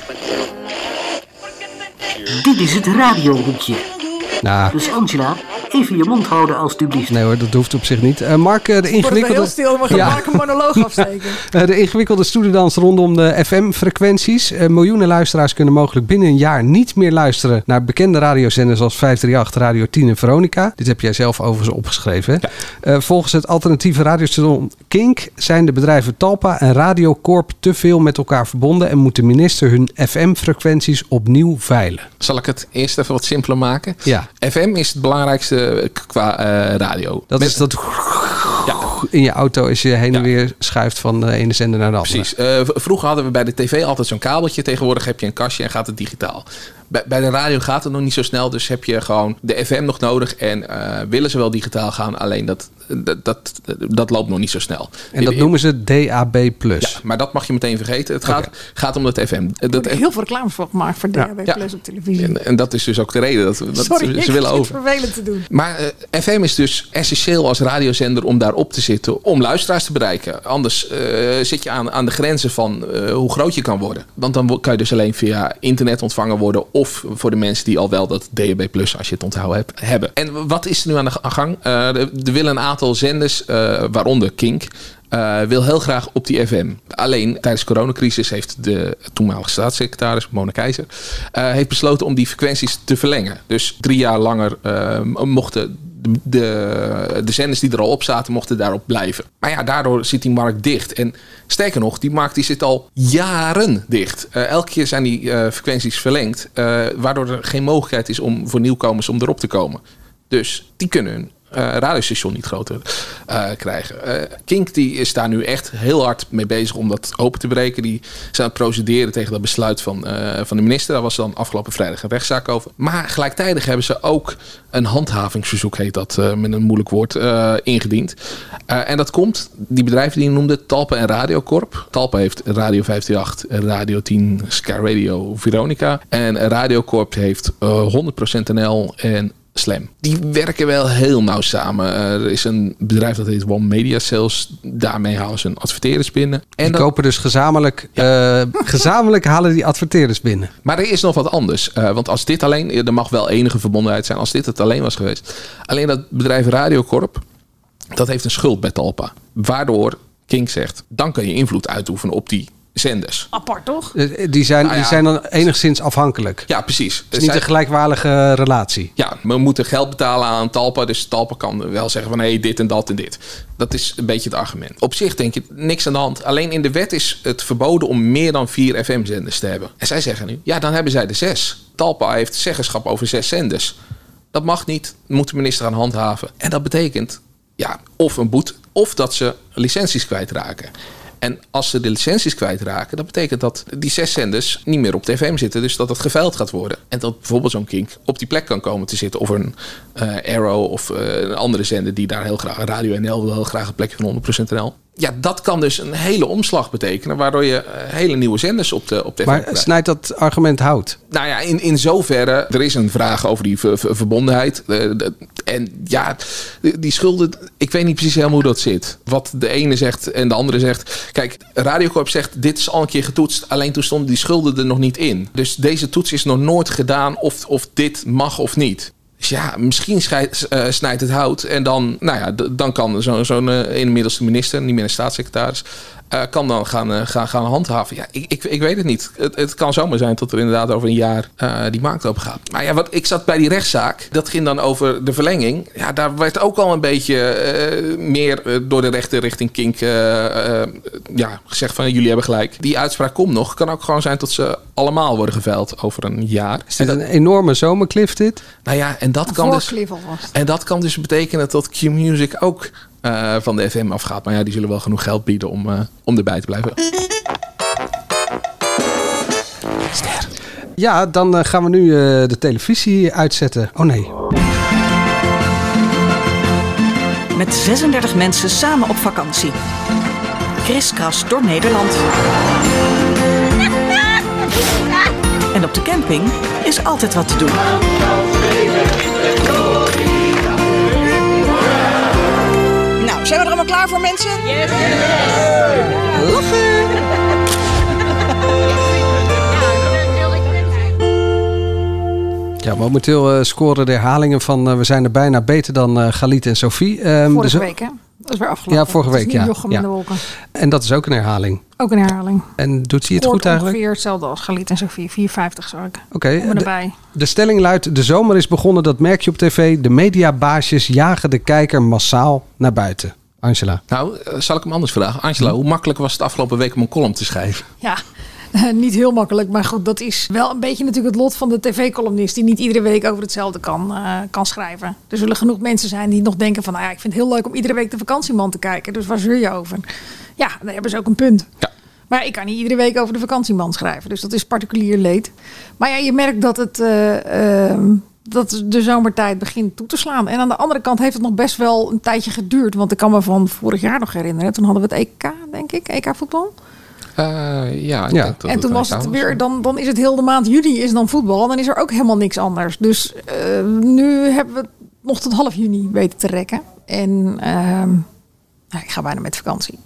Speaker 10: Dit is het radiohoekje.
Speaker 8: Nou,
Speaker 10: Dus Angela, even je mond houden alstublieft.
Speaker 8: nee hoor, dat hoeft op zich niet. Eh, Mark, eh, de
Speaker 7: Wordt het heel
Speaker 8: ingewikkelde...
Speaker 7: stil, maar
Speaker 8: Ja.
Speaker 7: ga ik een
Speaker 4: (laughs)
Speaker 7: monoloog afsteken.
Speaker 8: eh, De ingewikkelde stoelendans rondom de FM-frequenties. Eh, miljoenen luisteraars kunnen mogelijk binnen een jaar niet meer luisteren naar bekende radiozenders als 538, Radio 10 en Veronica. Dit heb jij zelf overigens opgeschreven. Hè? Eh, volgens het alternatieve radiostation Kink zijn de bedrijven Talpa en Radiocorp te veel met elkaar verbonden en moet de minister hun FM-frequenties opnieuw veilen.
Speaker 4: Zal ik het eerst even wat simpeler maken?
Speaker 8: Ja.
Speaker 4: FM is het belangrijkste k- qua eh, radio.
Speaker 8: Dat
Speaker 4: Met-
Speaker 8: is dat
Speaker 4: Ja,
Speaker 8: in je auto als je heen en
Speaker 4: Ja.
Speaker 8: weer schuift van de ene zender naar de andere.
Speaker 4: precies. Eh, v- vroeger hadden we bij de tv altijd zo'n kabeltje. Tegenwoordig heb je een kastje en gaat het digitaal. Bij, bij de radio gaat het nog niet zo snel. Dus heb je gewoon de FM nog nodig. En eh, willen ze wel digitaal gaan. Alleen dat, dat, dat, dat loopt nog niet zo snel.
Speaker 8: En dat
Speaker 4: I-
Speaker 8: noemen ze DAB+.
Speaker 4: Ja, maar dat mag je meteen vergeten. Het gaat, gaat om dat FM. Eh,
Speaker 7: Er
Speaker 4: Dat,
Speaker 7: wordt heel veel reclames voor gemaakt voor DHB
Speaker 4: Ja.
Speaker 7: Plus op televisie.
Speaker 4: en, en dat is dus ook de reden dat, we- dat
Speaker 7: Sorry,
Speaker 4: ze-
Speaker 7: ik
Speaker 4: ze willen
Speaker 7: vind het
Speaker 4: over.
Speaker 7: vervelend te doen.
Speaker 4: Maar eh, FM is dus essentieel als radiozender om daarop te zitten. Om luisteraars te bereiken. Anders eh, zit je aan, aan de grenzen van eh, hoe groot je kan worden. Want dan wo- kan je dus alleen via internet ontvangen worden. Of voor de mensen die al wel dat DAB Plus, als je het onthouden hebt, hebben. En wat is er nu aan de g- aan gang? Eh, er er willen een aantal zenders, eh, waaronder Kink... eh, wil heel graag op die FM. Alleen tijdens de coronacrisis heeft de toenmalige staatssecretaris Mona Keizer eh, heeft besloten om die frequenties te verlengen. Dus drie jaar langer eh, mochten de, de, de zenders die er al op zaten, mochten daarop blijven. Maar ja, daardoor zit die markt dicht. En sterker nog, die markt die zit al jaren dicht. Eh, elke keer zijn die eh, frequenties verlengd, eh, waardoor er geen mogelijkheid is om voor nieuwkomers om erop te komen. Dus die kunnen hun eh, radiostation niet groter eh, krijgen. Eh, Kink die is daar nu echt heel hard mee bezig om dat open te breken. Die zijn aan het procederen tegen dat besluit van, eh, van de minister. Daar was dan afgelopen vrijdag een rechtszaak over. Maar gelijktijdig hebben ze ook een handhavingsverzoek, heet dat eh, met een moeilijk woord, eh, ingediend. Eh, en dat komt, die bedrijven die je noemde, Talpa en Radiocorp. Talpa heeft Radio 538, Radio 10, Sky Radio, Veronica. En Radiocorp heeft eh, 100% NL en Slam. Die werken wel heel nauw samen. Eh, Er is een bedrijf dat heet One Media Sales. Daarmee halen ze een adverteerders binnen. En
Speaker 8: Die
Speaker 4: dat-
Speaker 8: kopen dus
Speaker 4: (laughs)
Speaker 8: gezamenlijk, eh, gezamenlijk halen die adverteerders binnen.
Speaker 4: maar er is nog wat anders. Eh, want als dit alleen, er mag wel enige verbondenheid zijn als dit het alleen was geweest. Alleen dat bedrijf Radiocorp, dat heeft een schuld bij Talpa. Waardoor King zegt, dan kan je invloed uitoefenen op die zenders.
Speaker 7: Apart toch?
Speaker 8: Eh, Die zijn,
Speaker 4: Nou ja.
Speaker 8: die zijn dan enigszins afhankelijk. Het
Speaker 4: Ja, precies.
Speaker 8: is niet
Speaker 4: Zij-
Speaker 8: een gelijkwaardige relatie.
Speaker 4: ja, we moeten geld betalen aan Talpa. Dus Talpa kan wel zeggen van hé, dit en dat en dit. Dat is een beetje het argument. Op zich denk je niks aan de hand. Alleen in de wet is het verboden om meer dan vier FM-zenders te hebben. En zij zeggen nu, ja, dan hebben zij de zes. Talpa heeft zeggenschap over zes zenders. Dat mag niet, moet de minister aan handhaven. En dat betekent ja, of een boete, of dat ze licenties kwijtraken. En als ze de licenties kwijtraken, dat betekent dat die zes zenders niet meer op tv zitten. Dus dat het geveild gaat worden. En dat bijvoorbeeld zo'n kink op die plek kan komen te zitten. Of een eh, Arrow of eh, een andere zender die daar heel graag, Radio NL wil heel graag een plekje van 100% NL. Ja, dat kan dus een hele omslag betekenen. Waardoor je eh, hele nieuwe zenders op, de, op tv
Speaker 8: Maar
Speaker 4: krijgt.
Speaker 8: snijdt dat argument hout?
Speaker 4: Nou ja, in, in zoverre, er is een vraag over die ver- ver- verbondenheid. Eh, dat- en ja, die die schulden, ik weet niet precies helemaal hoe dat zit. Wat de ene zegt en de andere zegt. Kijk, Radiocorp zegt, dit is al een keer getoetst. Alleen toen stonden die schulden er nog niet in. Dus deze toets is nog nooit gedaan of, of dit mag of niet. Dus ja, misschien schijt- eh, snijdt het hout. En dan, nou ja, d- dan kan zo'n zo inmiddels de minister, niet meer de staatssecretaris, eh, kan dan gaan, eh, gaan, gaan handhaven. Ja, ik, ik, ik weet het niet. Het, het kan zomaar zijn dat er inderdaad over een jaar eh, die markt open gaat. Maar ja, wat, ik zat bij die rechtszaak. Dat ging dan over de verlenging. Ja, daar werd ook al een beetje eh, meer eh, door de rechter richting Kink eh, eh, ja, gezegd van jullie hebben gelijk. Die uitspraak komt nog. Kan ook gewoon zijn dat ze allemaal worden geveild over een jaar.
Speaker 8: Is dit een enorme zomercliff dit?
Speaker 4: Nou ja, en dat kan
Speaker 7: Voor
Speaker 4: dus...
Speaker 7: Cliff alvast.
Speaker 4: En dat kan dus betekenen dat Q-Music ook eh, van de FM afgaat. Maar ja, die zullen wel genoeg geld bieden om, eh, om erbij te blijven.
Speaker 8: Ja, dan eh, gaan we nu eh, de televisie uitzetten. Oh nee.
Speaker 3: Met 36 mensen samen op vakantie. Kriskras door Nederland. En op de camping is altijd wat te doen. Nou, zijn we er allemaal klaar voor, mensen?
Speaker 8: Ja, momenteel eh, scoren de herhalingen van eh, we zijn er bijna beter dan eh Galit en Sophie. Ehm,
Speaker 7: Vorige
Speaker 8: dus-
Speaker 7: week, hè? Dat is weer afgelopen.
Speaker 8: Ja, vorige
Speaker 7: Het is
Speaker 8: week,
Speaker 7: niet
Speaker 8: ja.
Speaker 7: Jochem
Speaker 8: Ja.
Speaker 7: in de wolken.
Speaker 8: En dat is ook een herhaling.
Speaker 7: Ook een herhaling.
Speaker 8: En doet hij het
Speaker 7: Hoort
Speaker 8: goed eigenlijk?
Speaker 7: ongeveer hetzelfde als Galit en Sophie. 450 zou ik.
Speaker 8: Oké,
Speaker 7: Kom
Speaker 8: de-
Speaker 7: erbij.
Speaker 8: De stelling luidt: de zomer is begonnen, dat merk je op tv. De mediabaasjes jagen de kijker massaal naar buiten. Angela.
Speaker 4: Nou, eh, zal ik hem anders vragen. Angela, hoe makkelijk was het afgelopen week om een column te schrijven?
Speaker 7: Ja, (laughs) niet heel makkelijk. Maar goed, dat is wel een beetje natuurlijk het lot van de tv-columnist. Die niet iedere week over hetzelfde kan, eh, kan schrijven. Er zullen genoeg mensen zijn die nog denken van... Nou ja, ik vind het heel leuk om iedere week de vakantieman te kijken. Dus waar zeur je over? Ja, daar hebben ze ook een punt.
Speaker 4: Ja.
Speaker 7: Maar ik kan niet iedere week over de vakantieman schrijven. Dus dat is particulier leed. Maar ja, je merkt dat het... eh, ehm, dat de zomertijd begint toe te slaan. En aan de andere kant heeft het nog best wel een tijdje geduurd. Want ik kan me van vorig jaar nog herinneren. Toen hadden we het EK, denk ik. EK voetbal.
Speaker 4: ja,
Speaker 8: ik Eh, Ja. denk dat
Speaker 7: En toen was het weer, dan, dan is het heel de maand juni is dan voetbal. Dan is er ook helemaal niks anders. Dus eh, nu hebben we het nog tot half juni weten te rekken. En ehm, nou, ik ga bijna met vakantie.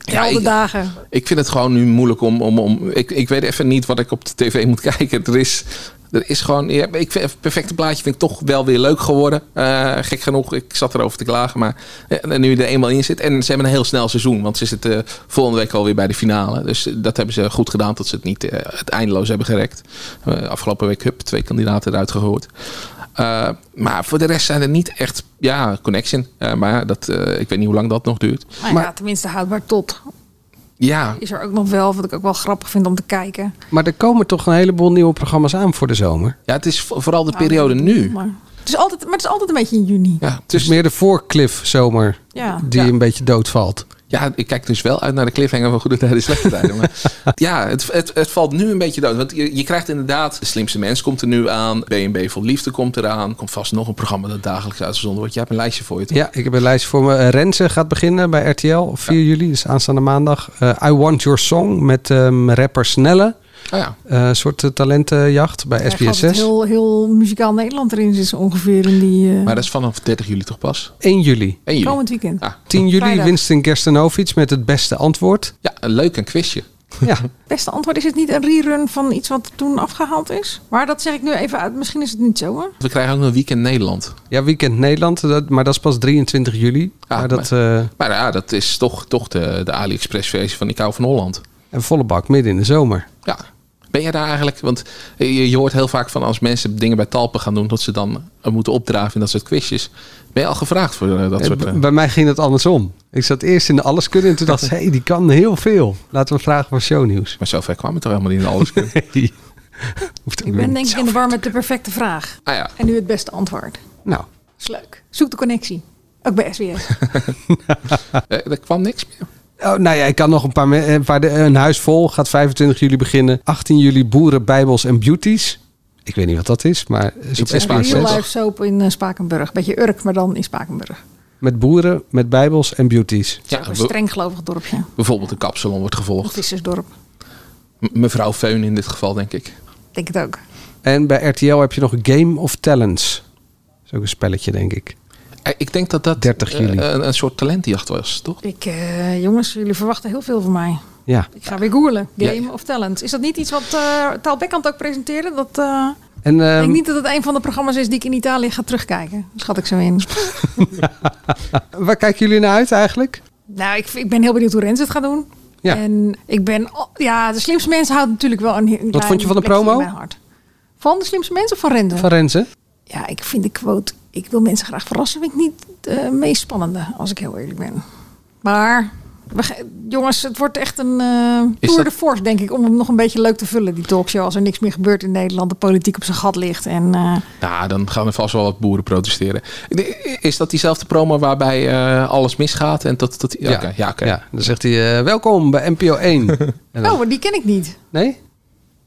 Speaker 7: Ja,
Speaker 4: ik-
Speaker 7: dagen. Nou
Speaker 4: Ik vind het gewoon nu moeilijk om... om, om ik, ik weet even niet wat ik op de tv moet (laughs) kijken. Er is, er is gewoon... Ja, ik vind, het perfecte plaatje vind ik toch wel weer leuk geworden. Eh, gek genoeg, ik zat erover te klagen. Maar eh, nu je er eenmaal in zit... En ze hebben een heel snel seizoen. Want ze zitten eh, volgende week alweer bij de finale. Dus eh, dat hebben ze goed gedaan. Dat ze het niet eh, het eindeloos hebben gerekt. Eh, afgelopen week heb twee kandidaten eruit gehoord. Eh, maar voor de rest zijn er niet echt... Ja, connection. Eh, maar dat, eh, ik weet niet hoe lang dat nog duurt.
Speaker 7: Maar,
Speaker 8: Maar-
Speaker 7: ja, tenminste houdbaar tot.
Speaker 4: Ja,
Speaker 7: Is er ook nog wel, wat ik ook wel grappig vind om te kijken.
Speaker 8: Maar er komen toch een heleboel nieuwe programma's aan voor de zomer.
Speaker 4: Ja, het is vo- vooral
Speaker 7: Oh,
Speaker 4: de periode nu.
Speaker 7: Maar het, is altijd, maar het is altijd een beetje in juni.
Speaker 4: Ja,
Speaker 8: Het is meer de voorcliff zomer
Speaker 7: Dus- Ja.
Speaker 8: die
Speaker 4: Ja.
Speaker 8: een beetje doodvalt.
Speaker 4: ja, ik kijk dus wel uit naar de cliffhanger van goede tijden en slechte tijden. Maar ja, het, het, het valt nu een beetje dood. Want je, je krijgt inderdaad, de slimste mens komt er nu aan. BNB voor liefde komt eraan. Komt vast nog een programma dat dagelijks uitgezonden wordt. Je hebt een lijstje voor je. toch?
Speaker 8: Ja, ik heb een lijstje voor me. Eh, Renze gaat beginnen bij RTL op 4 juli, dus aanstaande maandag. Eh, I Want Your Song met ehm, rapper Snelle.
Speaker 4: Oh ja.
Speaker 8: Eh, Een soort eh, talentenjacht bij
Speaker 7: Hij gaat het
Speaker 8: SPSS.
Speaker 7: Heel, heel muzikaal Nederland erin zit ongeveer in die eh,
Speaker 4: Maar dat is vanaf 30 juli toch pas?
Speaker 8: 1 juli.
Speaker 4: 1 juli.
Speaker 7: komend weekend.
Speaker 4: Ja,
Speaker 8: 10 juli
Speaker 7: Vrijdag.
Speaker 8: Winston Gerstenovic met het beste
Speaker 7: (laughs)
Speaker 8: antwoord.
Speaker 4: ja een leuk een quizje.
Speaker 8: Ja,
Speaker 7: Beste antwoord, is het niet een rerun van iets wat toen afgehaald is? Maar dat zeg ik nu even uit. Misschien is het niet zo hoor.
Speaker 4: We krijgen ook een weekend Nederland.
Speaker 8: ja Weekend Nederland, dat, maar dat is pas 23 juli.
Speaker 4: Ja,
Speaker 8: maar dat, eh,
Speaker 4: Ah, Maar ja, dat is toch, toch de, de AliExpress-versie van Ik hou van Holland.
Speaker 8: een volle bak midden in de zomer.
Speaker 4: Ja. Ben jij daar eigenlijk, want eh, je, je hoort heel vaak van als mensen dingen bij Talpen gaan doen, dat ze dan eh, moeten opdraven in dat soort quizjes. Ben je al gevraagd voor eh, dat
Speaker 8: Eh,
Speaker 4: soort. eh,
Speaker 8: b- bij mij ging dat andersom. Ik zat eerst in de alleskunde en toen
Speaker 4: (laughs)
Speaker 8: dacht ik, hey, die kan heel veel. Laten we vragen voor shownieuws. (laughs)
Speaker 4: maar zover kwam het toch helemaal niet in (laughs) alles. Ah kunnen.
Speaker 8: Hoeft ook
Speaker 7: Ik
Speaker 8: weer
Speaker 7: ben
Speaker 8: niet.
Speaker 7: denk ik in de war met de perfecte vraag.
Speaker 4: ah ja.
Speaker 7: En nu het beste antwoord.
Speaker 8: Nou,
Speaker 7: Is leuk. Zoek de connectie. Ook bij SBS.
Speaker 4: Eh, Er kwam niks meer.
Speaker 8: Oh, nou ja, ik kan nog een paar. me- Een, paar de- eh, een huis vol gaat 25 juli beginnen. 18 juli boeren, bijbels en beauties. Ik weet niet wat dat is, maar is
Speaker 4: Iets
Speaker 8: op
Speaker 4: in
Speaker 8: Spaans
Speaker 4: Spaans,
Speaker 7: Real
Speaker 4: hè?
Speaker 8: zes.
Speaker 7: life soap in eh, Spakenburg. Beetje Urk, maar dan in Spakenburg.
Speaker 8: Met boeren, met bijbels en beauties.
Speaker 4: Ja,
Speaker 7: Ook een
Speaker 4: be-
Speaker 7: streng gelovig dorpje.
Speaker 4: bijvoorbeeld een kapsalon wordt gevolgd.
Speaker 7: Vissersdorp.
Speaker 4: M- mevrouw Feun in dit geval, denk ik.
Speaker 7: Denk het ook.
Speaker 8: En bij RTL heb je nog Game of Talents. Dat is ook een spelletje, denk ik.
Speaker 4: Eh, Ik denk dat dat
Speaker 8: 30
Speaker 4: eh,
Speaker 8: juli.
Speaker 4: een, een soort talentjacht was, toch?
Speaker 7: Ik, eh, jongens, jullie verwachten heel veel van mij.
Speaker 8: Ja.
Speaker 7: Ik ga weer googlen. Game
Speaker 4: Ja.
Speaker 7: of Talent. Is dat niet iets wat eh Taal Bekkant ook presenteerde? Dat, eh,
Speaker 8: En ehm,
Speaker 7: ik denk niet dat het een van de programma's is die ik in Italië ga terugkijken. Schat ik zo in.
Speaker 8: waar kijken jullie naar uit eigenlijk?
Speaker 7: nou, ik, ik ben heel benieuwd hoe Rens het gaat doen.
Speaker 8: Ja.
Speaker 7: En ik ben... oh, ja, de slimste mens houdt natuurlijk wel een, he- een klein
Speaker 8: vond je van de
Speaker 7: plekje
Speaker 8: promo?
Speaker 7: in mijn hart. Van de slimste mensen of van Rende?
Speaker 8: Van Renze?
Speaker 7: Ja, ik vind de quote... Ik wil mensen graag verrassen. Vind ik niet de meest spannende, als ik heel eerlijk ben. Maar... we ge- jongens, het wordt echt een eh
Speaker 4: Is
Speaker 7: tour
Speaker 4: dat-
Speaker 7: de force, denk ik. Om hem nog een beetje leuk te vullen, die talkshow. Als er niks meer gebeurt in Nederland. De politiek op zijn gat ligt. En eh,
Speaker 4: Nou, dan gaan er vast wel wat boeren protesteren. De- Is dat diezelfde promo waarbij eh, alles misgaat? En dat, dat, ja, oké, ja, oké.
Speaker 8: Ja, dan zegt hij eh, welkom bij NPO 1.
Speaker 4: (laughs)
Speaker 8: En dan-
Speaker 7: Oh, maar die ken ik niet.
Speaker 8: Nee?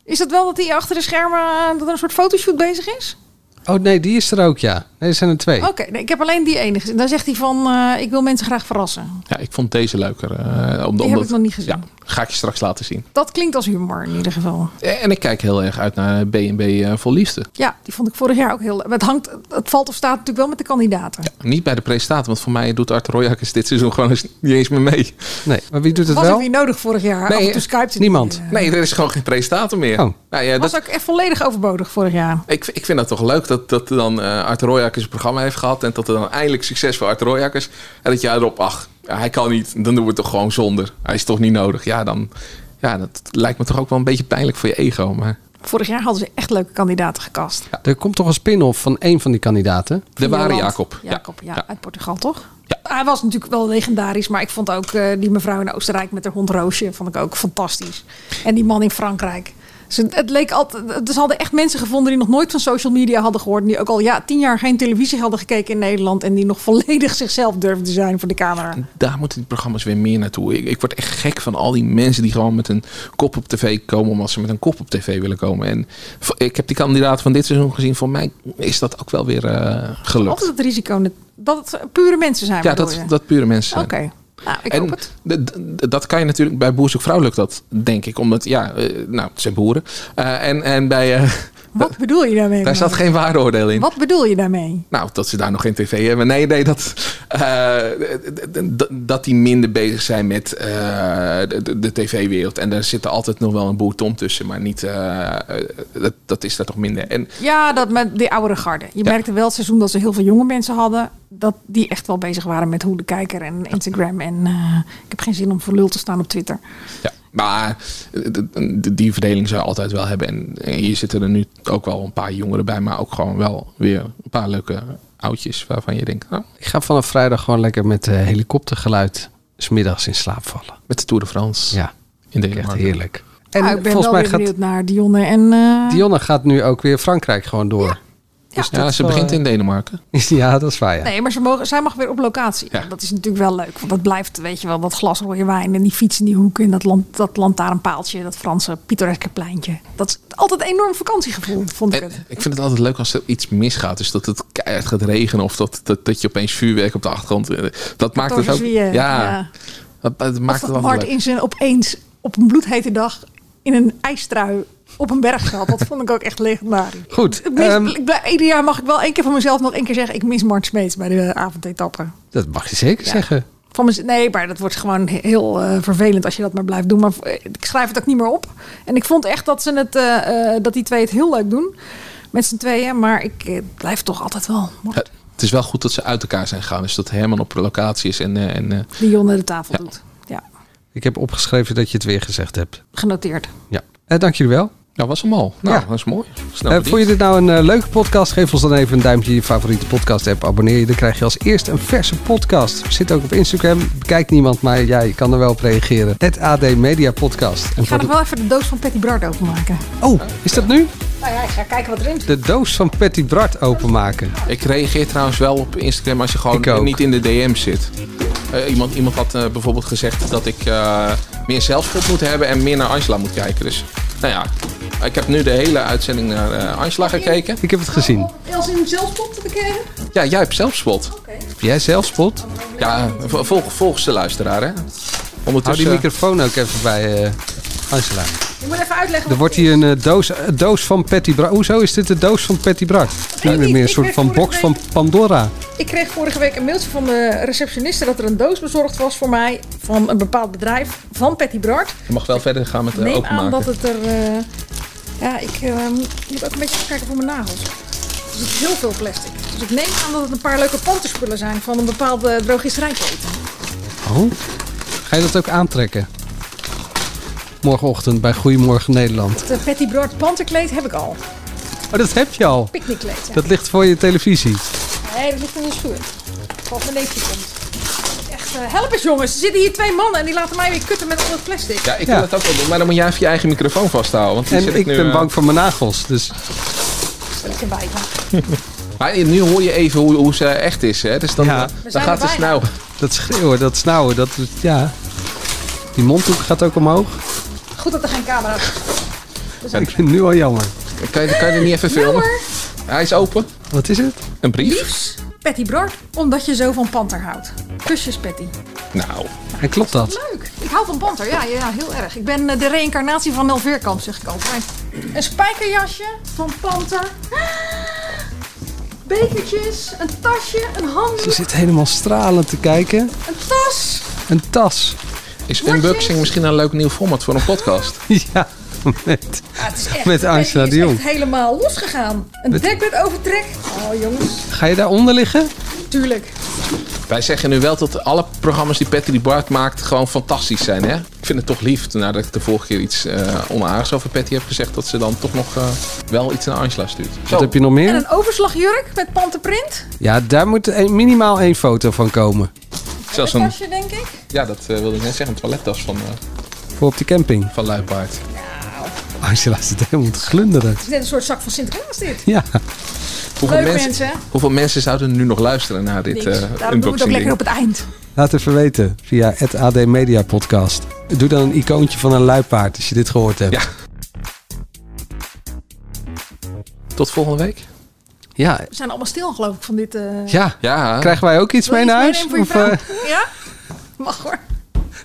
Speaker 7: Is dat wel dat hij achter de schermen eh, dat er een soort fotoshoot bezig is?
Speaker 8: Oh nee, die is er ook, ja. Nee, er zijn er twee.
Speaker 7: Oké, nee, ik heb alleen die enige. gezien. Dan zegt hij van, eh, ik wil mensen graag verrassen.
Speaker 4: Ja, ik vond deze leuker. eh, om-
Speaker 7: Die heb
Speaker 4: omdat-
Speaker 7: ik nog niet gezien.
Speaker 4: Ja, ga ik je straks laten zien. Eh,
Speaker 7: Dat klinkt als humor in ieder geval.
Speaker 4: En ik kijk heel erg uit naar BNB eh, Vol Liefde.
Speaker 7: Ja, die vond ik vorig jaar ook heel... maar Het, hangt, het valt of staat natuurlijk wel met de kandidaten.
Speaker 4: Niet bij de presentator, want voor mij doet Art Royakkers dit seizoen gewoon eens niet eens meer mee.
Speaker 8: Nee, maar wie doet het
Speaker 7: was
Speaker 8: wel?
Speaker 7: ook niet nodig vorig jaar.
Speaker 4: Nee,
Speaker 7: Af en toe Skype
Speaker 8: niemand.
Speaker 4: Nee, er is gewoon geen presentator meer.
Speaker 8: Oh.
Speaker 4: Nou ja,
Speaker 7: Dat
Speaker 4: dat,
Speaker 7: was ook echt volledig overbodig vorig jaar.
Speaker 4: ik, ik vind dat toch leuk dat, dat er dan eh Art Royakkers een programma heeft gehad. En dat er dan eindelijk succes voor Art Royakkers. En dat je erop, ach, ja, hij kan niet. Dan doen we het toch gewoon zonder. Hij is toch niet nodig. Ja, dan, ja, dat lijkt me toch ook wel een beetje pijnlijk voor je ego. Maar
Speaker 7: Vorig jaar hadden ze echt leuke kandidaten gekast.
Speaker 8: Er komt toch een spin-off van één van die kandidaten?
Speaker 4: de ware
Speaker 7: Joland.
Speaker 4: Jacob.
Speaker 7: Jacob, ja,
Speaker 4: ja.
Speaker 7: uit Portugal toch? Hij was natuurlijk wel legendarisch, maar ik vond ook eh, die mevrouw in Oostenrijk met haar hond Roosje vond ik ook fantastisch. En die man in Frankrijk. Ze, het leek altijd, dus hadden echt mensen gevonden die nog nooit van social media hadden gehoord. en Die ook al ja, tien jaar geen televisie hadden gekeken in Nederland. En die nog volledig (laughs) zichzelf durfden te zijn voor de camera.
Speaker 4: Daar moeten die programma's weer meer naartoe. Ik, ik word echt gek van al die mensen die gewoon met een kop op tv komen. omdat ze met een kop op tv willen komen. En v- ik heb die kandidaat van dit seizoen gezien. Voor mij is dat ook wel weer eh, gelukt.
Speaker 7: Altijd het risico net- dat het pure mensen zijn.
Speaker 4: Ja,
Speaker 7: bedoel
Speaker 4: dat,
Speaker 7: je?
Speaker 4: dat pure mensen.
Speaker 7: Oké,
Speaker 4: zijn.
Speaker 7: nou, ik hoop
Speaker 4: En
Speaker 7: het.
Speaker 4: d- d- dat kan je natuurlijk bij Boer Zoekt Vrouw lukt dat, denk ik. Omdat, ja, eh, nou, het zijn boeren. Eh, en, en bij,
Speaker 7: (laughs)
Speaker 4: eh,
Speaker 7: Wat bedoel je daarmee?
Speaker 4: daar zat
Speaker 7: Mark?
Speaker 4: geen waardeoordeel in.
Speaker 7: Wat bedoel je daarmee?
Speaker 4: Nou, dat ze daar nog geen tv hebben. Nee, nee, dat, eh, d- d- d- dat die minder bezig zijn met eh, de, de- de tv-wereld. En daar zit er altijd nog wel een boer Tom tussen, maar niet, eh, eh, dat, dat is daar toch minder. En
Speaker 7: Ja, dat met die oudere garde. Je merkte wel het seizoen dat ze heel veel jonge mensen hadden. Dat die echt wel bezig waren met hoe de kijker en Instagram. En eh, ik heb geen zin om voor lul te staan op Twitter.
Speaker 4: Ja, maar d- d- die verdeling zou je altijd wel hebben. En hier zitten er nu ook wel een paar jongeren bij, maar ook gewoon wel weer een paar leuke oudjes waarvan je denkt, nou,
Speaker 8: Ik ga vanaf vrijdag gewoon lekker met eh, helikoptergeluid... 's middags in slaap vallen.
Speaker 4: met de Tour de France
Speaker 8: Ja,
Speaker 4: in
Speaker 8: echt
Speaker 4: Denemarken.
Speaker 8: heerlijk.
Speaker 7: En
Speaker 8: En
Speaker 7: Nou, ik ben
Speaker 8: volgens
Speaker 7: wel
Speaker 8: mij
Speaker 7: weer
Speaker 8: gaat
Speaker 7: benieuwd naar Dionne en... eh,
Speaker 8: Dionne gaat nu ook weer Frankrijk gewoon door.
Speaker 7: ja.
Speaker 4: Ja, ze begint in
Speaker 8: (laughs)
Speaker 4: Denemarken.
Speaker 8: Ja, dat is waar, ja.
Speaker 7: Nee, maar ze mogen, zij mag weer op locatie.
Speaker 4: Ja.
Speaker 7: Dat is natuurlijk wel leuk. Want dat blijft, weet je wel, dat glas rode wijn en die fiets in die hoek... en dat, land, dat lantaarnpaaltje, dat Franse pittoreske pleintje. Dat is altijd een enorm vakantiegevoel, vond ik
Speaker 4: En
Speaker 7: het.
Speaker 4: ik vind het altijd leuk als er iets misgaat. Dus dat het keihard gaat regenen of dat, dat, dat je opeens vuurwerk op de achtergrond... eh, Dat maakt het ook...
Speaker 7: Torresvieille,
Speaker 4: Ja, Dat, dat
Speaker 7: Of
Speaker 4: maakt het
Speaker 7: dat
Speaker 4: wel
Speaker 7: Mart
Speaker 4: leuk.
Speaker 7: in zijn opeens op een bloedhete dag in een ijstrui op een berg zat. Dat vond ik ook echt legendarisch.
Speaker 8: Goed,
Speaker 7: Ik mis-
Speaker 8: ehm,
Speaker 7: ik blij- ieder jaar mag ik wel één keer van mezelf nog één keer zeggen... ik mis Mart Smeets bij de avondetappen.
Speaker 8: Dat mag je zeker zeggen.
Speaker 7: Van mez- nee, maar dat wordt gewoon he- heel eh, vervelend als je dat maar blijft doen. Maar eh, ik schrijf het ook niet meer op. En ik vond echt dat, ze het, eh, eh, dat die twee het heel leuk doen. Met z'n tweeën. Maar ik eh, blijf toch altijd wel Mart,
Speaker 4: Ja, het is wel goed dat ze uit elkaar zijn gegaan. Dus dat Herman op locatie is en... eh, en eh,
Speaker 7: die onder de tafel doet. Ja,
Speaker 8: Ik heb opgeschreven dat je het weer gezegd hebt.
Speaker 7: genoteerd.
Speaker 8: Ja. Eh, dank jullie wel.
Speaker 4: dat was hem al. Nou,
Speaker 8: Ja.
Speaker 4: dat is mooi. Snel
Speaker 8: Eh,
Speaker 4: verdiend.
Speaker 8: vond je dit nou een eh, leuke podcast? Geef ons dan even een duimpje in je favoriete podcast app. Abonneer je, dan krijg je als eerste een verse podcast. Zit ook op Instagram. Bekijkt niemand, maar ja, je kan er wel op reageren. Het AD Media Podcast. En
Speaker 7: Ik ga
Speaker 8: voor
Speaker 7: nog
Speaker 8: de...
Speaker 7: wel even de doos van Patty Bart openmaken.
Speaker 8: Oh, is dat nu?
Speaker 7: Nou ja, ik ga kijken wat erin zit.
Speaker 8: De doos van Patty Bart openmaken.
Speaker 4: Ik reageer trouwens wel op Instagram als je
Speaker 8: Ik ook.
Speaker 4: gewoon niet in de DM zit. Eh, iemand, iemand had eh, bijvoorbeeld gezegd dat ik eh, meer zelfschuld moet hebben en meer naar Angela moet kijken. Dus nou ja, ik heb nu de hele uitzending naar eh, Angela gekeken.
Speaker 8: Ik heb het gezien.
Speaker 7: Als in zelfspot te bekijken?
Speaker 4: Ja, jij hebt zelfspot.
Speaker 8: Heb jij zelfspot?
Speaker 4: Ja, vol- vol- volgens de luisteraar, hè?
Speaker 8: Hou die
Speaker 4: Ondertussen,
Speaker 8: microfoon ook even bij eh, Angela.
Speaker 7: Je moet even uitleggen.
Speaker 8: Er wordt hier een eh, doos, een doos van Patty Bra. Hoezo is dit de doos van Patty Bra?
Speaker 7: niet,
Speaker 8: meer een
Speaker 7: ik
Speaker 8: soort
Speaker 7: werd
Speaker 8: van
Speaker 7: vorige
Speaker 8: box
Speaker 7: week-
Speaker 8: van Pandora.
Speaker 7: Ik kreeg vorige week een mailtje van de receptioniste dat er een doos bezorgd was voor mij van een bepaald bedrijf van Patty Bart.
Speaker 4: je mag wel verder gaan met de
Speaker 7: Neem
Speaker 4: openmaken.
Speaker 7: aan dat het er. eh, ja, ik eh, moet ook een beetje kijken voor mijn nagels. Er zit heel veel plastic. Dus ik neem aan dat het een paar leuke panterspullen zijn van een eh, bepaalde drogisterijketen.
Speaker 8: Oh. Ga je dat ook aantrekken? Morgenochtend bij Goedemorgen Nederland.
Speaker 7: Het eh, Patty Bart panterkleed heb ik al.
Speaker 8: Oh, dat heb je al.
Speaker 7: Picknickkleed. Ja.
Speaker 8: Dat ligt voor je televisie.
Speaker 7: Nee, dat ligt in de schuur. Als mijn neefje komt. Echt, eh, help eens jongens. Er zitten hier twee mannen en die laten mij weer kutten met al dat plastic.
Speaker 4: Ja, ik
Speaker 8: Ja.
Speaker 4: wil het ook wel doen, maar dan moet jij even je eigen microfoon vasthouden. Want die zit
Speaker 8: En ik
Speaker 4: nu,
Speaker 8: ben
Speaker 4: eh,
Speaker 8: bang voor mijn nagels. Dus
Speaker 7: Stel ik erbij.
Speaker 4: Maar eh, nu hoor je even hoe, hoe ze echt is, hè? Dus dan,
Speaker 8: Ja.
Speaker 4: dan
Speaker 7: We zijn
Speaker 4: gaat
Speaker 7: er
Speaker 4: het
Speaker 7: bijna.
Speaker 4: snel.
Speaker 8: dat schreeuwen, dat snauwen, dat... Ja. Die mondhoek gaat ook omhoog.
Speaker 7: Goed dat er geen camera is.
Speaker 8: Ik vind het nu al jammer.
Speaker 4: Kan je, kan je er niet even filmen? Hij is open.
Speaker 8: Wat is het?
Speaker 4: Een brief?
Speaker 7: Liefs, Patty Bart, omdat je zo van panter houdt. Kusjes, Patty.
Speaker 4: Nou,
Speaker 8: En klopt dat?
Speaker 7: Leuk. Ik hou van panter, ja, ja, heel erg. Ik ben eh, de reïncarnatie van Nel Veerkamp, zeg ik altijd. Een spijkerjasje van panter. Bekertjes, een tasje, een
Speaker 8: Ze
Speaker 7: handdoek,
Speaker 8: zit helemaal stralend te kijken.
Speaker 7: een tas.
Speaker 8: Een tas. (laughs)
Speaker 4: is unboxing misschien een leuk nieuw format voor een podcast?
Speaker 8: Ja, met...
Speaker 7: Ja, Ah, het is echt,
Speaker 8: Met Angela
Speaker 7: Patty is
Speaker 8: de Jong.
Speaker 7: echt helemaal losgegaan. Een dekbed overtrek. Oh jongens,
Speaker 8: Ga je daaronder liggen?
Speaker 7: tuurlijk.
Speaker 4: Wij zeggen nu wel dat alle programma's die Patty die Bart maakt gewoon fantastisch zijn, hè? Ik vind het toch lief, nadat ik de vorige keer iets eh onaardigs over Patty heb gezegd, dat ze dan toch nog eh, wel iets naar Angela stuurt. Zo,
Speaker 8: Wat heb je nog
Speaker 7: En
Speaker 8: meer?
Speaker 7: een overslagjurk met panterprint.
Speaker 8: Ja, daar moet een- minimaal één foto van komen.
Speaker 4: zelfs
Speaker 7: Een
Speaker 4: een,
Speaker 7: tasje, denk ik.
Speaker 4: ja, dat eh, wilde ik net zeggen, een toilettas van, eh
Speaker 8: Voor op de camping.
Speaker 4: van Luipaard.
Speaker 8: Angela zit helemaal te glunderen.
Speaker 7: Het is net een soort zak van Sinterklaas dit.
Speaker 8: Ja,
Speaker 4: Hoeveel
Speaker 7: Leuk,
Speaker 4: mensen,
Speaker 7: mensen.
Speaker 4: Hoeveel mensen zouden nu nog luisteren naar dit
Speaker 7: Niks.
Speaker 4: eh,
Speaker 7: Daarom doen we het ook
Speaker 4: unboxing
Speaker 7: lekker op
Speaker 4: ding?
Speaker 7: het eind.
Speaker 8: laat even weten via het AD Media Podcast. Doe dan een icoontje van een luipaard als je dit gehoord hebt.
Speaker 4: Ja. Tot volgende week.
Speaker 8: ja.
Speaker 7: We zijn allemaal stil, geloof ik, van dit... eh,
Speaker 8: ja.
Speaker 4: Ja,
Speaker 8: Krijgen wij ook iets
Speaker 7: Wil je
Speaker 8: mee naar
Speaker 7: iets
Speaker 8: huis?
Speaker 7: meenemen
Speaker 8: Of,
Speaker 7: Voor je
Speaker 8: eh,
Speaker 7: vrouw? Ja? Mag hoor.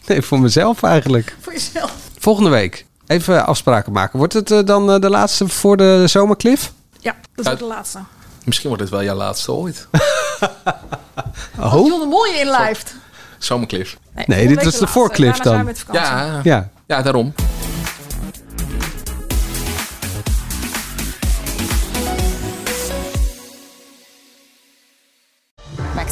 Speaker 8: nee, voor mezelf eigenlijk.
Speaker 7: Voor jezelf.
Speaker 8: Volgende week. Even afspraken maken. Wordt het eh, dan eh, de laatste voor de zomerclif?
Speaker 7: Ja, dat is ook de laatste.
Speaker 8: Oh.
Speaker 4: misschien wordt het wel jouw laatste ooit. (laughs)
Speaker 7: Als John de Mooie inlijft.
Speaker 4: Zomercliff.
Speaker 8: Nee, dit
Speaker 7: volgende
Speaker 8: was
Speaker 7: week
Speaker 8: de voorclip
Speaker 7: Daarna zijn
Speaker 8: dan.
Speaker 7: we met vakantie.
Speaker 4: Ja, ja.
Speaker 8: Ja.
Speaker 4: ja, daarom.